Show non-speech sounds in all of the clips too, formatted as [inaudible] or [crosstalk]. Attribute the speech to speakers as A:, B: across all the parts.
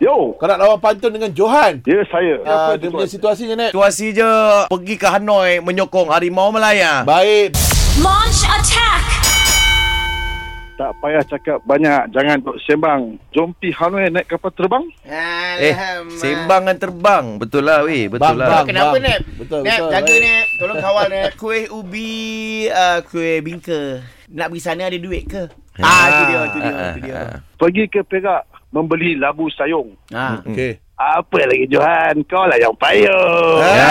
A: Kau nak lawan pantun dengan Johan.
B: Ya, saya.
A: Ah, dia punya situasinya, Nek.
C: Situasi je pergi ke Hanoi menyokong Harimau Melaya.
A: Baik.
D: Launch attack!
B: Tak payah cakap banyak. Jangan duk sembang. Jom pi Hanoi naik kapal terbang.
C: Eh, sembang dengan terbang. Betul lah weh, betul
A: Bang,
C: lah.
A: bang,
E: Kenapa
A: bang.
E: Nep?
A: Betul,
E: Nep,
A: betul.
E: jaga
A: baik.
E: Nep. Tolong kawal Nep. Kuih ubi, uh, kuih bingka. Nak pergi sana ada duit ke? Ah, itu dia, itu dia, itu dia.
B: Pergi ke Perak. Membeli labu sayung.
E: Ah.
A: Okey.
B: Apa lagi Johan? Kau lah yang
C: Ya.
B: payung.
C: Ah.
B: Ya.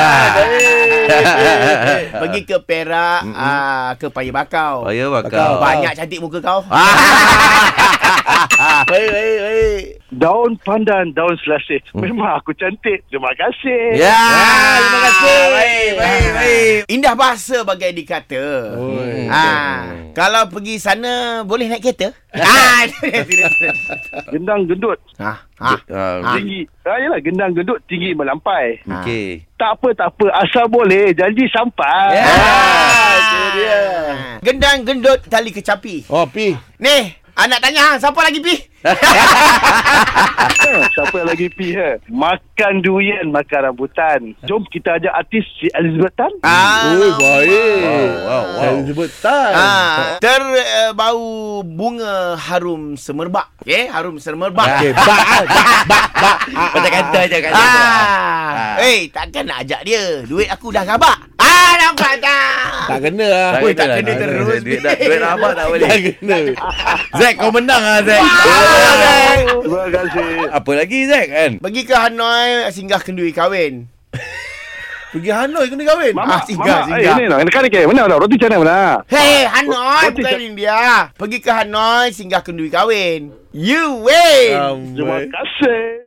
C: [laughs]
E: Ah. Pergi ke Perak, ah, ke Paya Bakau.
C: Paya bakau. Ah.
E: Banyak cantik muka kau.
A: Baik, baik, baik.
B: Daun pandan, daun selasih. Memang aku cantik. Terima kasih.
C: [laughs] Ya.
E: terima kasih. Ya.
C: Baik, baik, baik.
E: Indah bahasa bagai dikata.
A: Oi.
E: Ah, kalau pergi sana boleh naik kereta? ah, [laughs]
B: Gendang gendut.
E: ah, ah.
C: Ah,
B: Tinggi. Ah, yelah, gendang gendut tinggi melampai.
C: Okey.
B: Tak apa, tak apa. Asal boleh. Janji sampai.
C: Ya.
E: Ah, itu dia. Gendang gendut tali kecapi.
A: Oh, pi.
E: Ni, anak tanya hang siapa lagi pi? Ah.
B: Ha, Siapa lagi pi ha? Makan durian, makan rambutan. Jom kita ajak artis si Elizabeth Tan.
E: Ah.
A: Oi, baik.
C: Wow, wow, wow.
A: Saya sebut tan.
E: Ah, terbau bunga harum semerbak. Okey, harum semerbak.
A: Okey, bak, ah, bak, bak, bak.
C: [laughs] Macam kata je kat dia.
E: Ah. Eh, takkan nak ajak dia. Duit aku dah gabak. Ah, nampak tak?
A: Tak kena lah.
E: Oi, tak kena
C: lah.
E: terus.
C: Duit dah- duit dah abang tak boleh.
A: Tak
E: [laughs]
A: kena.
C: Zack kau menang ah Zack.
B: Terima kasih.
C: Apa lagi Zack kan?
E: Pergi ke Hanoi singgah kenduri kahwin.
A: Pergi Hanoi kena kahwin.
B: Mama,
E: Ah, singgah,
B: mama.
E: singgah.
B: Eh, ni nak kena ke? Mana dah? Roti canai mana?
E: Hei, Hanoi
B: Roti
E: bukan
B: ca-
E: India. Pergi ke Hanoi singgah kenduri kahwin. You win.
A: Amboi.
B: Terima kasih.